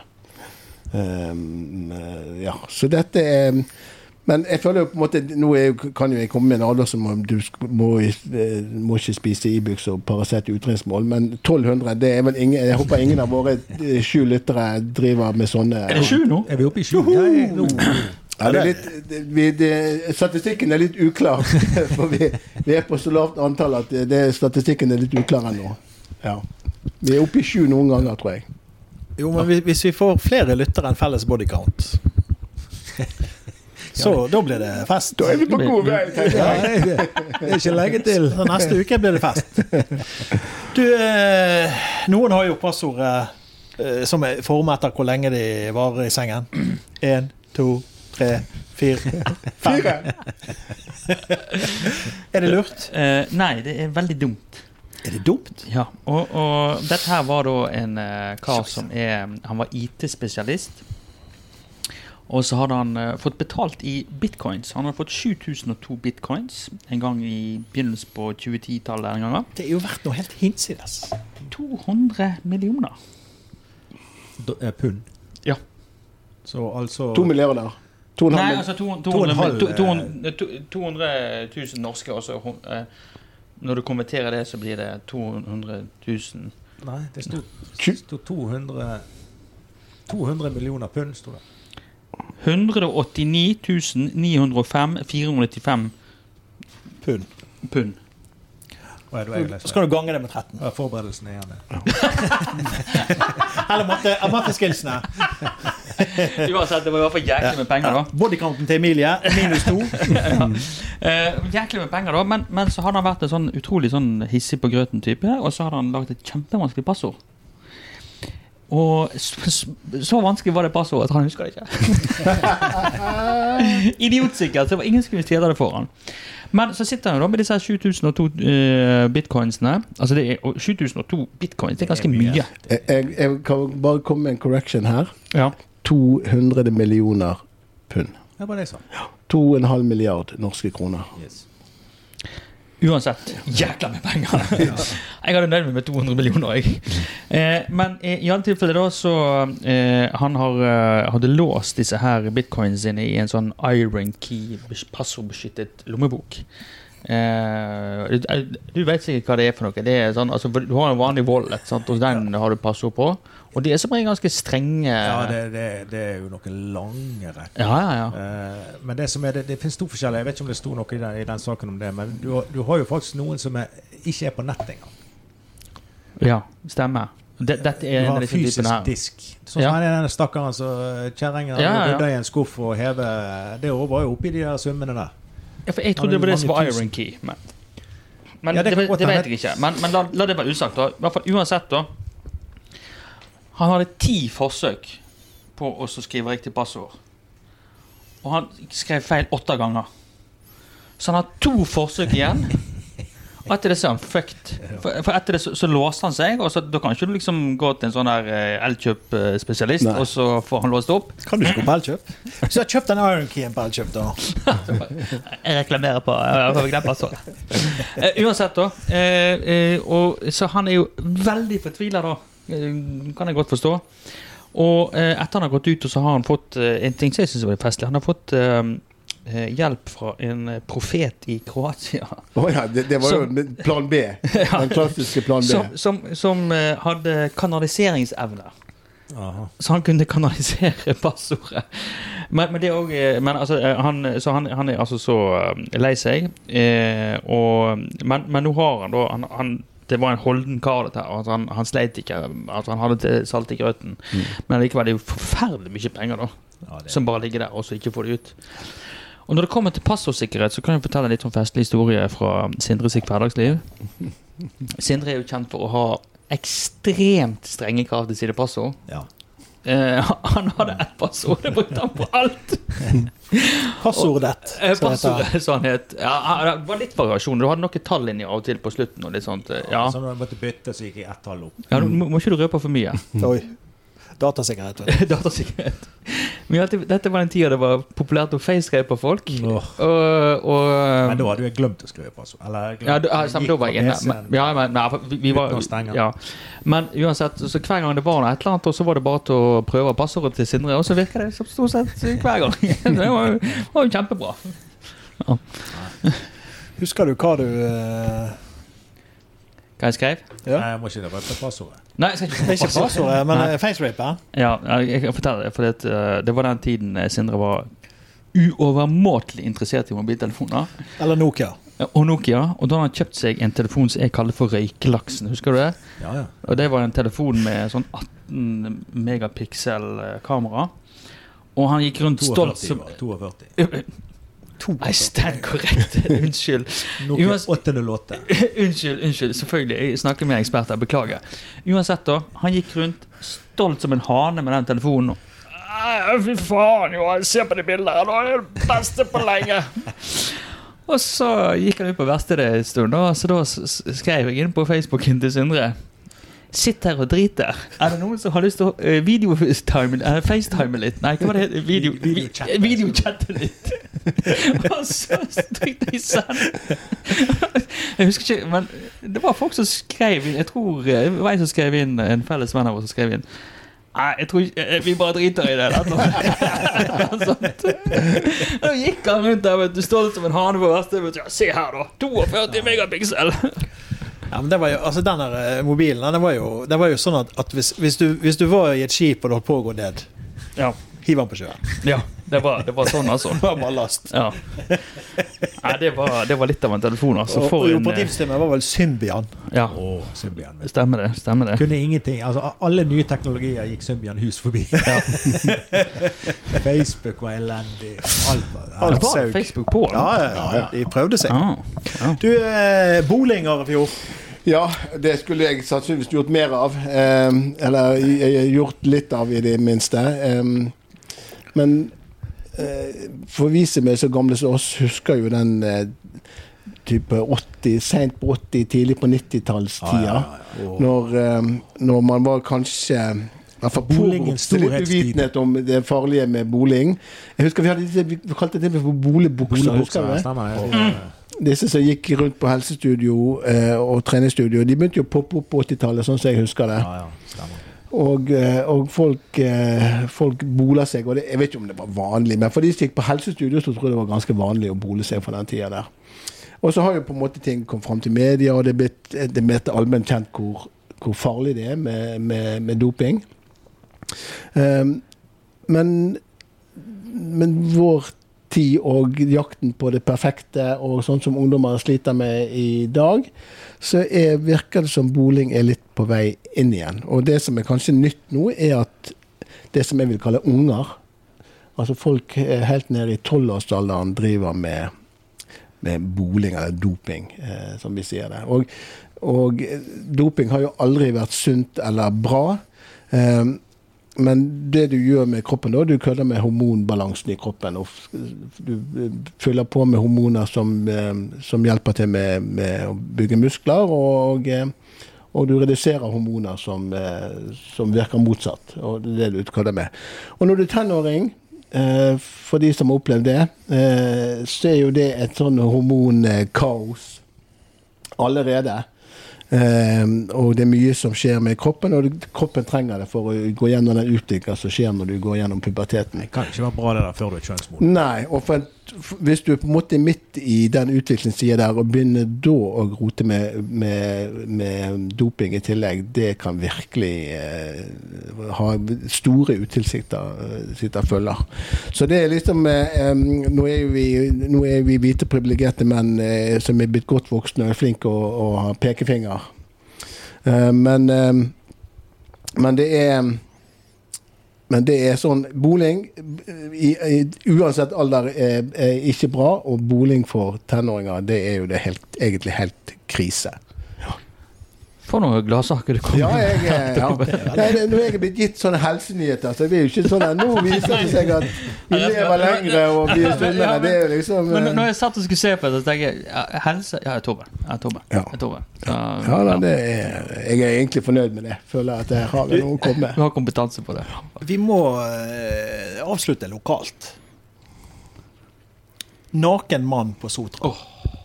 Ehm, eh, ja, så dette er Men jeg føler jo på en måte Nå er, jo- kan jo jeg komme med en alder som om du sk- må, eh, må ikke spise Ibux og Paracet i utrinningsmål, men 1200 det er vel ingen, Jeg håper ingen av våre eh, sju lyttere driver med sånne nå? Er vi oppe i sju? Ja, jeg- nå. ja, det er litt, det, vi, det, statistikken er litt uklar. For vi, vi er på så lavt antall at det, det- statistikken er litt uklar ennå. Ja. Vi er oppe i sju noen ganger, tror jeg. Jo, men hvis- hvis vi får flere lyttere enn felles body count så da blir det fest. Da er vi på god vei. tenker Ja, jeg. jeg- det er ikke lenge til. Så neste uke blir det fest. Du, eh, noen har jo passordet eh, som er formet etter hvor lenge de varer i sengen. Én, to, tre, fire, fem. Fire. Er det lurt? Eh, nei, det er veldig dumt. Er det dumt? Ja, og, og dette her var da en eh, kar som er Han var IT-spesialist. Og så hadde han eh, fått betalt i bitcoins. Han hadde fått 7002 bitcoins en gang i begynnelsen på 2010-tallet. en gang da. Det er jo verdt noe helt hinsides. 200 millioner. Da- eh, Pund. Ja. Så altså To milliarder. To og en halv Nei, milliard. altså to- og en 200 halv, eh, to- to- to- 200 000 norske, og så hun- eh, Når du konverterer det, så blir det 200 000 Nei, det sto, Tju- sto 200 200 millioner pund, sto det. 189 905 495 Pund. pund. Å, ja, det var jeg Så leste. skal du gange det med 13. Ja, Forberedelsene er igjen. ja. Eller matte, matteskillsene. Uansett, det var i hvert fall jæklig med penger, da. Bodycounten til Emilie minus to. Eh, jæklig med penger da, men, men så hadde han vært en sånn utrolig sånn hissig på grøten-type, og så hadde han lagd et kjempevanskelig passord. Og så, så- så vanskelig var det passordet at han husker det ikke. Idiotsikkert. så det var Ingen som kunne stjele det for han. Men så sitter han jo da med disse her 7002 eh, bitcoinsene. Altså det er, og 7002 bitcoins det er ganske Det er mye. mye. Jeg, jeg- jeg kan bare komme med en correction her. Ja. 200 millioner pund. Det var det jeg sa. To og en halv milliard norske kroner. Yes. Uansett, jækla med penger! Jeg hadde nøyd meg med 200 millioner. Jeg. Eh, men i i alle tilfeller da, så eh, Han har, eh, hadde låst disse her bitcoinsene sine i en sånn iron key, bes- passordbeskyttet lommebok. Eh, du, du vet sikkert hva det er for noe. Det er sånn, altså, for du har en vanlig wallet, sant? og den har du passord på. Og de er som regel ganske strenge. Ja, det, det, det er jo noen lange rekker. ja, ja, ja. Eh, Men det som er, det, det finnes to forskjellige. Jeg vet ikke om det sto noe i den, i den saken om det, men du, har- du har jo faktisk noen som er, ikke er på nett engang. ja stemmer. Det- Dette Du er en har av disse fysisk typene her. disk. Sånn som Ja. han er den stakkaren som kjerringa Ja, ja, ja. rydda i en skuff og hever Det var jo oppi de der summene der. Ja, for jeg Han trodde er det var det mange som var tusen. Iron Key. Men, men Ja, det det, kan det, godt hende. vet jeg ikke. Men, men la, la det være usagt. da. I hvert fall Uansett, da. Han hadde ti forsøk på å så skrive riktig passord. Og han skrev feil åtte ganger. Så han har to forsøk igjen. Og etter det så er han fucked. For, for etter det så, så låste han seg. Og så, da kan ikke du liksom gå til en sånn der eh, Elkjøp-spesialist, Nei. og så får han låst opp. Kan du ikke gå på Elkjøp? Så jeg kjøpt en Iron Key på Elkjøp, da. Jeg reklamerer på jeg har glemt passordet. Eh, uansett, da. Eh, eh, og, så han er jo veldig fortvila, da. Eh, kan jeg godt forstå. Og eh, etter han har gått ut, og så har han fått eh, en ting som jeg synes var festlig. Han har fått eh, eh, hjelp fra en eh, profet i Kroatia. Å ja, det, det var jo Som- en plan B. Den klassiske plan B. Som, som, som eh, hadde kanaliseringsevne. Aha. Så han kunne kanalisere passordet. Men, men det er også, eh, men altså, eh, han, så han, han er altså så eh, lei seg. Eh, og, men, men nå har han da han, han, Det var en holden kar, dette her. og At han, han sleit ikke. At han hadde til salt i grøten. Men likevel, det er jo forferdelig mye penger, da Ja, det, som bare ligger der, og så ikke får det ut. Og når det kommer til passordsikkerhet, så kan jeg fortelle litt om festlig historie fra Sindre sitt hverdagsliv. Sindre er jo kjent for å ha ekstremt strenge krav til sine passord. ja. Eh, han hadde ett passord, det brukte han på alt! Passordet. Eh, som det heter. passordet, så han het. Ja, han- det var litt variasjon. Du hadde noen tallinjer av og til på slutten. Og litt sånt. eh, Ja. Så når jeg måtte bytte, så gikk jeg ett tall opp. Ja, nå må må ikke du røpe for mye. Oi. Datasikkerhet. vet du. Datasikkerhet. Men ja, det- dette var den tida det var populært å facerape folk. Og, og Men da hadde jeg glemt å skrive passord. Eller jeg Ja, glemte- du, ja stemmer, da var jeg gikk inne. på Men, PC-en. ja, men, nei, vi, vi var, Uten å stenge. ja. men uansett, så hver gang det var noe et eller annet, og så var det bare til å prøve passordet til Sindre, og så virker det som stort sett hver gang. Det var, jo- var jo kjempebra. Husker du hva du eh, Hva jeg skrev? Ja. Nei, jeg må ikke røpe passordet. Nei, jeg skal Det er ikke ikke passordet, men Nei. eh, facerapen. Ja, jeg kan fortelle det, for det, eh, det var den tiden eh, Sindre var uovermåtelig interessert i mobiltelefoner. Eller Nokia. eh, Og Nokia, og da hadde han kjøpt seg en telefon som jeg kaller for Røykelaksen, husker du det? Ja, ja. Og det var en telefon med sånn 18 megapixel-kamera. Og han gikk rundt stolt 42. som var det, 42. Nei, stand korrekt. Unnskyld. Nokia Uansett- 808. unnskyld, unnskyld. Selvfølgelig. Jeg snakker med eksperter. Beklager. Uansett, da. Han gikk rundt stolt som en hane med den telefonen. «Æ, Fy faen, Johan. Se på de bildene. her, Nå er det det beste på lenge. Og så gikk han ut på verkstedet en stund, da, så da s- s- skrev jeg inn på Facebooken til Sindre. Sitt her og drit der. Er det noen som har lyst til å eh, videofacetime eh, FaceTime litt? Nei, hva var det? Video, vi- Videochatte. Videochatte litt. Og så trykte jeg send. Jeg husker ikke, men det var folk som skrev inn Jeg tror eh, det var en som skrev inn En felles venn av oss som skrev inn Nei, jeg tror ikke eh, Vi bare driter i det. eller noe sånt. Da gikk han rundt der, vet du. Stolt som en hane på verkstedet. Ja, se her, da. 42 megapixel. Ja, men det var jo, altså Den der eh, mobilen den var jo, den var jo sånn at, at hvis, hvis, du, hvis du var i et skip og det holdt på å gå ned, Ja. hiv den på sjøen. ja det, var, det var sånn, altså. Det var bare last. Ja. Nei, det var, det var litt av en telefon, altså. Og, For og en eh, operativsystemet var vel Symbian. Ja, Åh, Symbian. vet du. stemmer det. Stemmer det. Kunne ingenting. Altså, alle nye teknologier gikk Symbian hus forbi. Facebook var elendig. Alt var Alt. Nei, Var det Facebook på? Ja, ja, ja. De prøvde seg. Ah, ja. Du, eh, bowling, Arefjord. Ja, det skulle jeg sannsynligvis gjort mer av. eh, eller jeg, jeg, gjort litt av, i det minste. eh, men eh, for å vise meg så gamle som oss, husker jo den eh, type 80, seint på 80, tidlig på 90-tallstida. Ja, ja, Ah, ja, ja. når, eh, når man var kanskje i hvert fall Bowlingens påvokste litt storhetstid. uvitenhet om det farlige med bowling. Jeg husker Vi hadde disse- vi kalte det for boligbukser. husker du Boligbukser, det? stemmer det? disse som gikk rundt på helsestudio eh, og treningsstudio, de begynte jo å poppe opp på 80-tallet, sånn som jeg husker det. Ja, ja, stemmer. Og, eh, og folk, eh, folk boler seg. Og det, jeg vet ikke om det var vanlig, men for de som gikk på helsestudio, så tror jeg det var ganske vanlig å bole seg for den tida der. Og så har jo på en måte ting kommet fram til media, og det er blitt eh, det er blitt allment kjent hvor, hvor farlig det er med, med, med doping. Ehm, men, men vår tid og jakten på det perfekte og sånn som ungdommer sliter med i dag, så er, virker det som boling er litt på vei inn igjen. Og det som er kanskje nytt nå, er at det som jeg vil kalle unger, altså folk eh, helt ned i tolvårsalderen driver med med boling eller doping, eh, som vi sier det. Og, og eh, doping har jo aldri vært sunt eller bra. Eh, men det du gjør med kroppen da, du kødder med hormonbalansen i kroppen. Og f- du eh, fyller på med hormoner som, eh, som hjelper til med, med å bygge muskler. Og, eh, og du reduserer hormoner som, eh, som virker motsatt. Og det er det du kødder med. Og når du er tenåring, eh, for de som har opplevd det, eh, så er jo det et sånn hormonkaos allerede. Eh, og det er mye som skjer med kroppen, og det- kroppen trenger det for å gå gjennom den utviklingen som skjer når du går gjennom puberteten. Det kan ikke være bra det der før du er kjønnsmoden. Nei, og for en hvis du er på en måte midt i den utviklingssida der, og begynner da å rote med, med, med doping i tillegg, det kan virkelig eh, ha store utilsikta følger. Så det er liksom eh, em, nå, er vi, nå er vi hvite, privilegerte menn eh, som er blitt godt voksne og er flinke å, å ha pekefinger. Eh, men, eh, men det er men det er sånn Boling, i, i, uansett alder, er, er ikke bra. Og boling for tenåringer, det er jo det helt, egentlig helt krise. For noen gladsaker du kom Ja, med. jeg, er- ja. Nei, det, nå er jeg blitt gitt sånne helsenyheter, så det er jo ikke sånn at nå viser det seg at vi lever lengre og blir sunnere. Det er jo liksom Men eh, når jeg satt og skulle se på det, så tenkte jeg ja, helse Ja, jeg tobber. Jeg tobber. Ja. Jeg tobber. Ja da, det er, jeg er egentlig fornøyd med det. Føler at jeg har noe å komme Du med. har kompetanse på det. Vi må eh, avslutte lokalt. Naken mann på Sotra.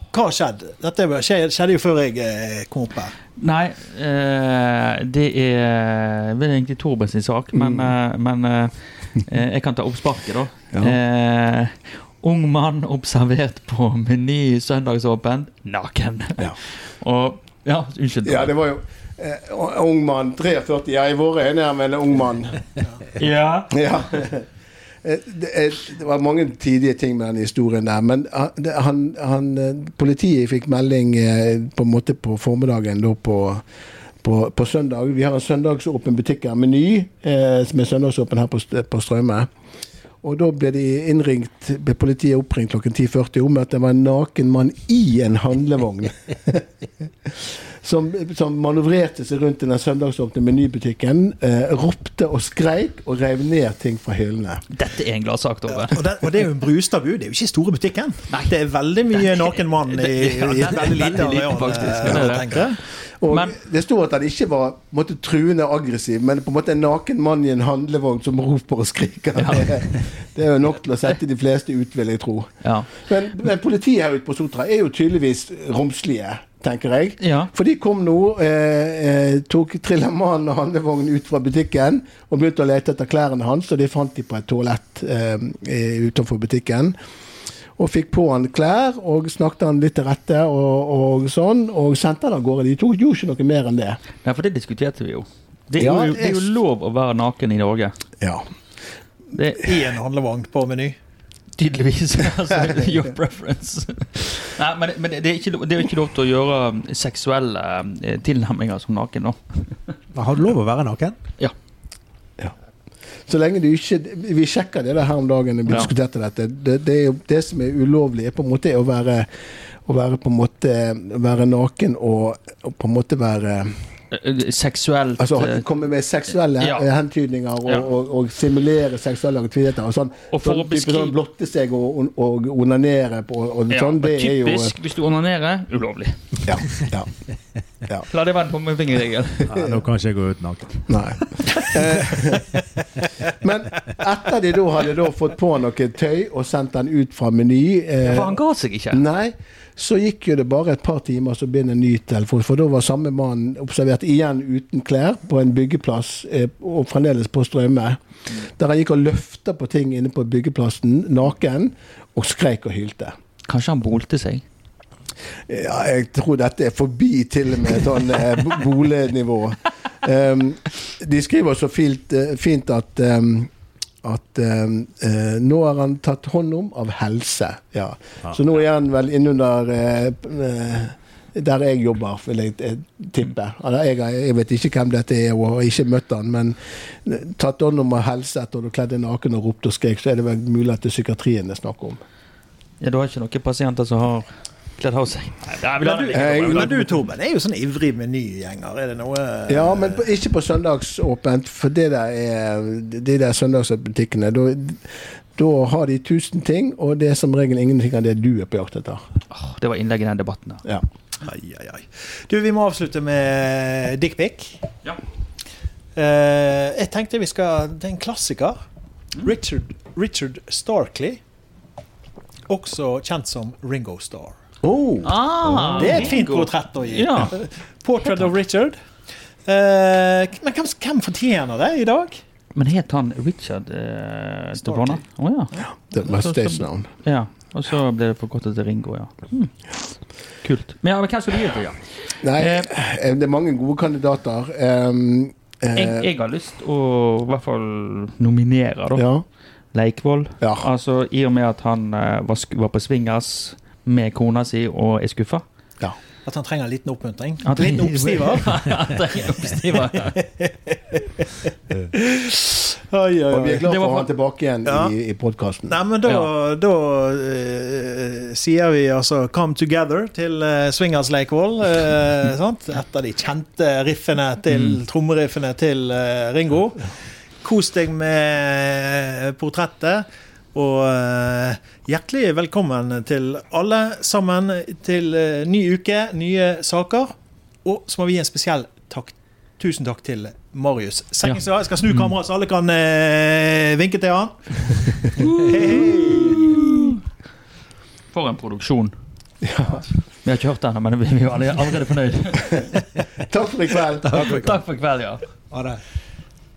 Hva har skjedd? Dette var- skje- skjedde jo før jeg eh, kom opp her. Nei, eh, det er vel egentlig Torben sin sak, men, eh, men eh, eh, jeg kan ta oppsparket, da. Mm. Ja. Eh, ung mann observert på Meny søndagsåpent naken. Ja. Og Ja, unnskyld. Ja, Torben. det var jo eh, ung mann. 43. Ja, i våre øyne er han vel en ung mann. Ja. Ja. Eh, Det, eh, det var mange tidige ting med den historien der. Men han- det- han, han, eh, politiet fikk melding eh, på en måte på formiddagen da på, på, på søndag. Vi har en søndagsåpen butikk her, Meny, eh, som er søndagsåpen her på, St- på Strømme. Og da ble de innringt, ble politiet oppringt klokken 10.40 om at det var en naken mann i en handlevogn. som, som manøvrerte seg rundt i den søndagsåpne menybutikken. Eh, ropte og skreik og rev ned ting fra hyllene. Dette er en gladsak, Torben. Og det, og det er jo en Brustadbu, det er jo ikke store butikken. Det er veldig mye naken mann i, i Ja, et den er veldig veldig lite liten, areal, faktisk. eh, Det er det. tenker jeg. Og Men- Det sto at han ikke var på en måte, truende og aggressiv, men på en måte en naken mann i en handlevogn som roper og skriker. Det, det er jo nok til å sette de fleste ut, vil jeg tro. Ja. Men, men politiet her ute på Sotra er jo tydeligvis romslige, tenker jeg. Ja. For de kom nå, eh, eh, tok Trillemannen og handlevognen ut fra butikken og begynte å lete etter klærne hans, og de fant de på et toalett eh, eh, utenfor butikken. Og fikk på han klær og snakket han litt til rette og, og sånn, og sendte han av gårde. De tok, gjorde ikke noe mer enn det. Nei, for det diskuterte vi jo. Det er, Ja, jo, det er jo jeg- lov å være naken i Norge. Ja. Det er I en handlevogn på Meny. tydeligvis altså, your preference. Nei, men, men det, er ikke, lov- det er jo ikke lov til å gjøre um, seksuelle eh, tilnærminger som naken, da. Har du lov å være naken? Så lenge du ikke Vi sjekka det der her om dagen da vi Ja. diskuterte dette. Det, det, er jo, det som er ulovlig, er på en måte å være å være på en måte være naken og, og på en måte være Eh, eh, Seksuelt Altså eh, komme med seksuelle Ja. eh, hentydninger og, Ja. og, og simulere seksuelle aktiviteter. og sånn. Og for sånn, å type beskri- sånn Blotte seg og, og, og onanere på og, og ja, sånn. men Det er jo Typisk hvis du onanerer ulovlig. ja, ja. La det være en tommelfingerregel. Ja, nå kan ikke jeg gå ut naken. Nei. Eh, Men etter de da hadde da fått på noe tøy og sendt den ut fra Meny eh, For han ga seg ikke. Nei, så gikk jo det bare et par timer, så begynner en ny telefon. For da var samme mann observert igjen uten klær på en byggeplass, eh, og fremdeles på Strømme. Der han gikk og løfta på ting inne på byggeplassen, naken, og skreik og hylte. Kanskje han bolte seg. Ja, jeg tror dette er forbi til og med sånn eh, bo- bolignivå. Um, de skriver så fint, eh, fint at um, at um, eh, nå er han tatt hånd om av helse. Ja. Så nå er han vel innunder eh, p- eh, der jeg jobber, vil jeg eh, tippe. Eller, jeg, har- jeg vet ikke hvem dette er, og har ikke møtt han, men eh, tatt hånd om av helse etter å ha kledd deg naken og ropt og skrek, så er det vel mulig at det er psykiatrien det er snakk om. Ja, du har ikke noen pasienter som har kledd av seg. Nei, vi lar det ligge. Jeg- Men du, Torben, er jo sånn ivrig Meny-gjenger. Er det noe Ja, men på, ikke på søndagsåpent, for det der er de der søndagsbutikkene. Da, da har de tusen ting, og det er som regel ingenting av det du er på jakt etter. Åh, Det var innlegget i den debatten der. Ja. Ai, ai, ai. Du, vi må avslutte med dickpic. Ja. Eh, jeg tenkte vi skal Det er en klassiker. Mm. Richard, Richard Starkley. Også kjent som Ringo Starr. Oh. Ah, Det er et fint bingo. portrett å gi. Ja. Portrait of Richard. Eh, men hvem, hvem fortjener det i dag? Men het han Richard eh, Dovona? Å ja. Det var et stage navn. ja. Og så ble det forkortet til Ringo, ja. Hmm. Kult. Men, ja, men hvem skal du gi det til? Ja? Nei, Eh. eh, det er mange gode kandidater. Ehm, eh, Jeg, jeg har lyst å i hvert fall nominere, da. ja. Leikvoll. ja. Altså, I og med at han eh, var, sk- var på swingers med kona si og er skuffa. At han trenger en liten oppmuntring. Han trenger- Liten oppstiver. Oi, oi, Og vi er oi. glad for Det var å ha for- han tilbake igjen Ja. i, i podkasten. Nei, men da, Ja. da eh, sier vi altså 'Come Together' til eh, Swingers Lake Wall. eh, sant? Et av de kjente riffene til trommeriffene til eh, Ringo. Kos deg med portrettet. Og eh, hjertelig velkommen til alle sammen til eh, ny uke, nye saker. Og så må vi gi en spesiell takk. Tusen takk til Marius Sengestad. Jeg skal snu kameraet, så alle kan eh, vinke til han. Hei, hei. For en produksjon. Vi har ikke hørt den, men vi vi er allerede fornøyd. Takk for i kveld. Takk for i kveld, ja. Ha det.